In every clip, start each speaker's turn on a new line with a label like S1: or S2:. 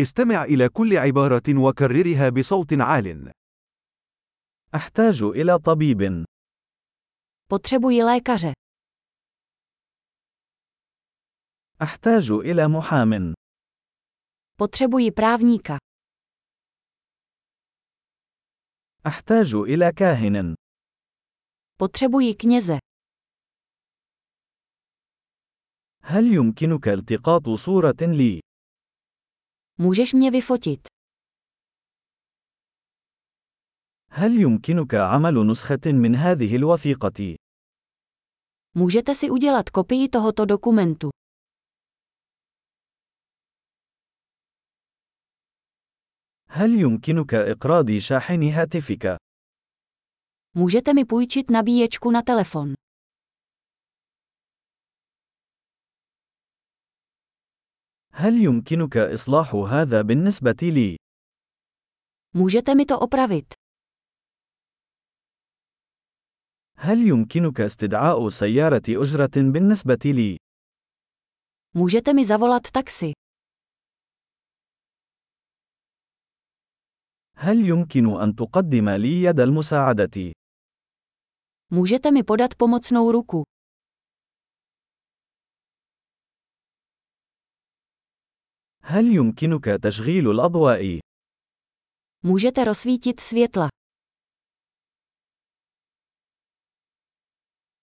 S1: استمع إلى كل عبارة وكررها بصوت عال.
S2: أحتاج إلى طبيب.
S3: Potřebuji lékaře.
S2: أحتاج إلى محام.
S3: Potřebuji právníka.
S2: أحتاج إلى كاهن.
S3: Potřebuji kněze.
S2: هل يمكنك التقاط صورة لي؟
S3: Můžeš mě vyfotit.
S2: هل يمكنك عمل نسخة من هذه الوثيقة؟
S3: Můžete si udělat kopii tohoto dokumentu.
S2: هل يمكنك إقراض شاحن هاتفك؟
S3: Můžete mi půjčit nabíječku na telefon.
S2: هل يمكنك إصلاح هذا بالنسبة لي؟
S3: Můžete mi to opravit.
S2: هل يمكنك استدعاء سيارة أجرة بالنسبة لي؟
S3: Můžete mi zavolat taxi.
S2: هل يمكن أن تقدم لي يد المساعدة؟
S3: Můžete mi podat pomocnou ruku.
S2: هل يمكنك تشغيل الأضواء؟
S3: Můžete rozsvítit světla.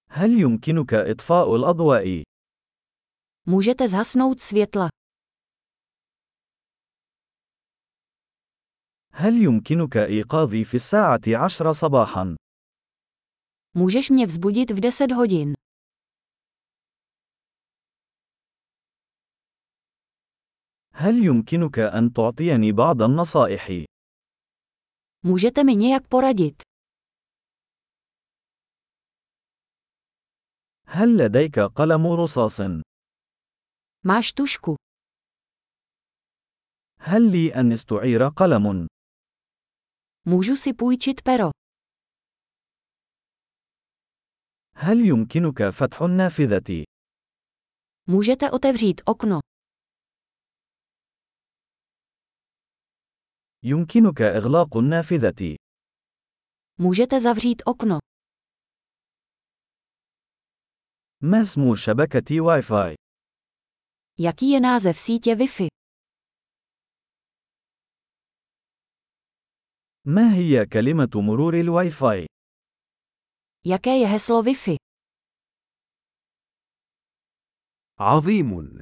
S2: هل يمكنك إطفاء الأضواء؟
S3: Můžete zhasnout světla.
S2: هل يمكنك إيقاظي في الساعة عشر صباحا؟
S3: Můžeš mě vzbudit v 10 hodin.
S2: هل يمكنك أن تعطيني بعض النصائح؟
S3: Můžete mi nějak poradit.
S2: هل لديك قلم رصاص؟
S3: Máš tušku.
S2: هل لي أن استعير قلم؟
S3: Můžu si půjčit pero.
S2: هل يمكنك فتح النافذة؟
S3: Můžete otevřít okno.
S2: يمكنك إغلاق النافذة.
S3: Můžete zavřít okno.
S2: ما اسم شبكة واي فاي؟
S3: Jaký je název sítě Wi-Fi?
S2: ما هي كلمة مرور الواي فاي؟
S3: Jaké je heslo Wi-Fi?
S1: عظيم.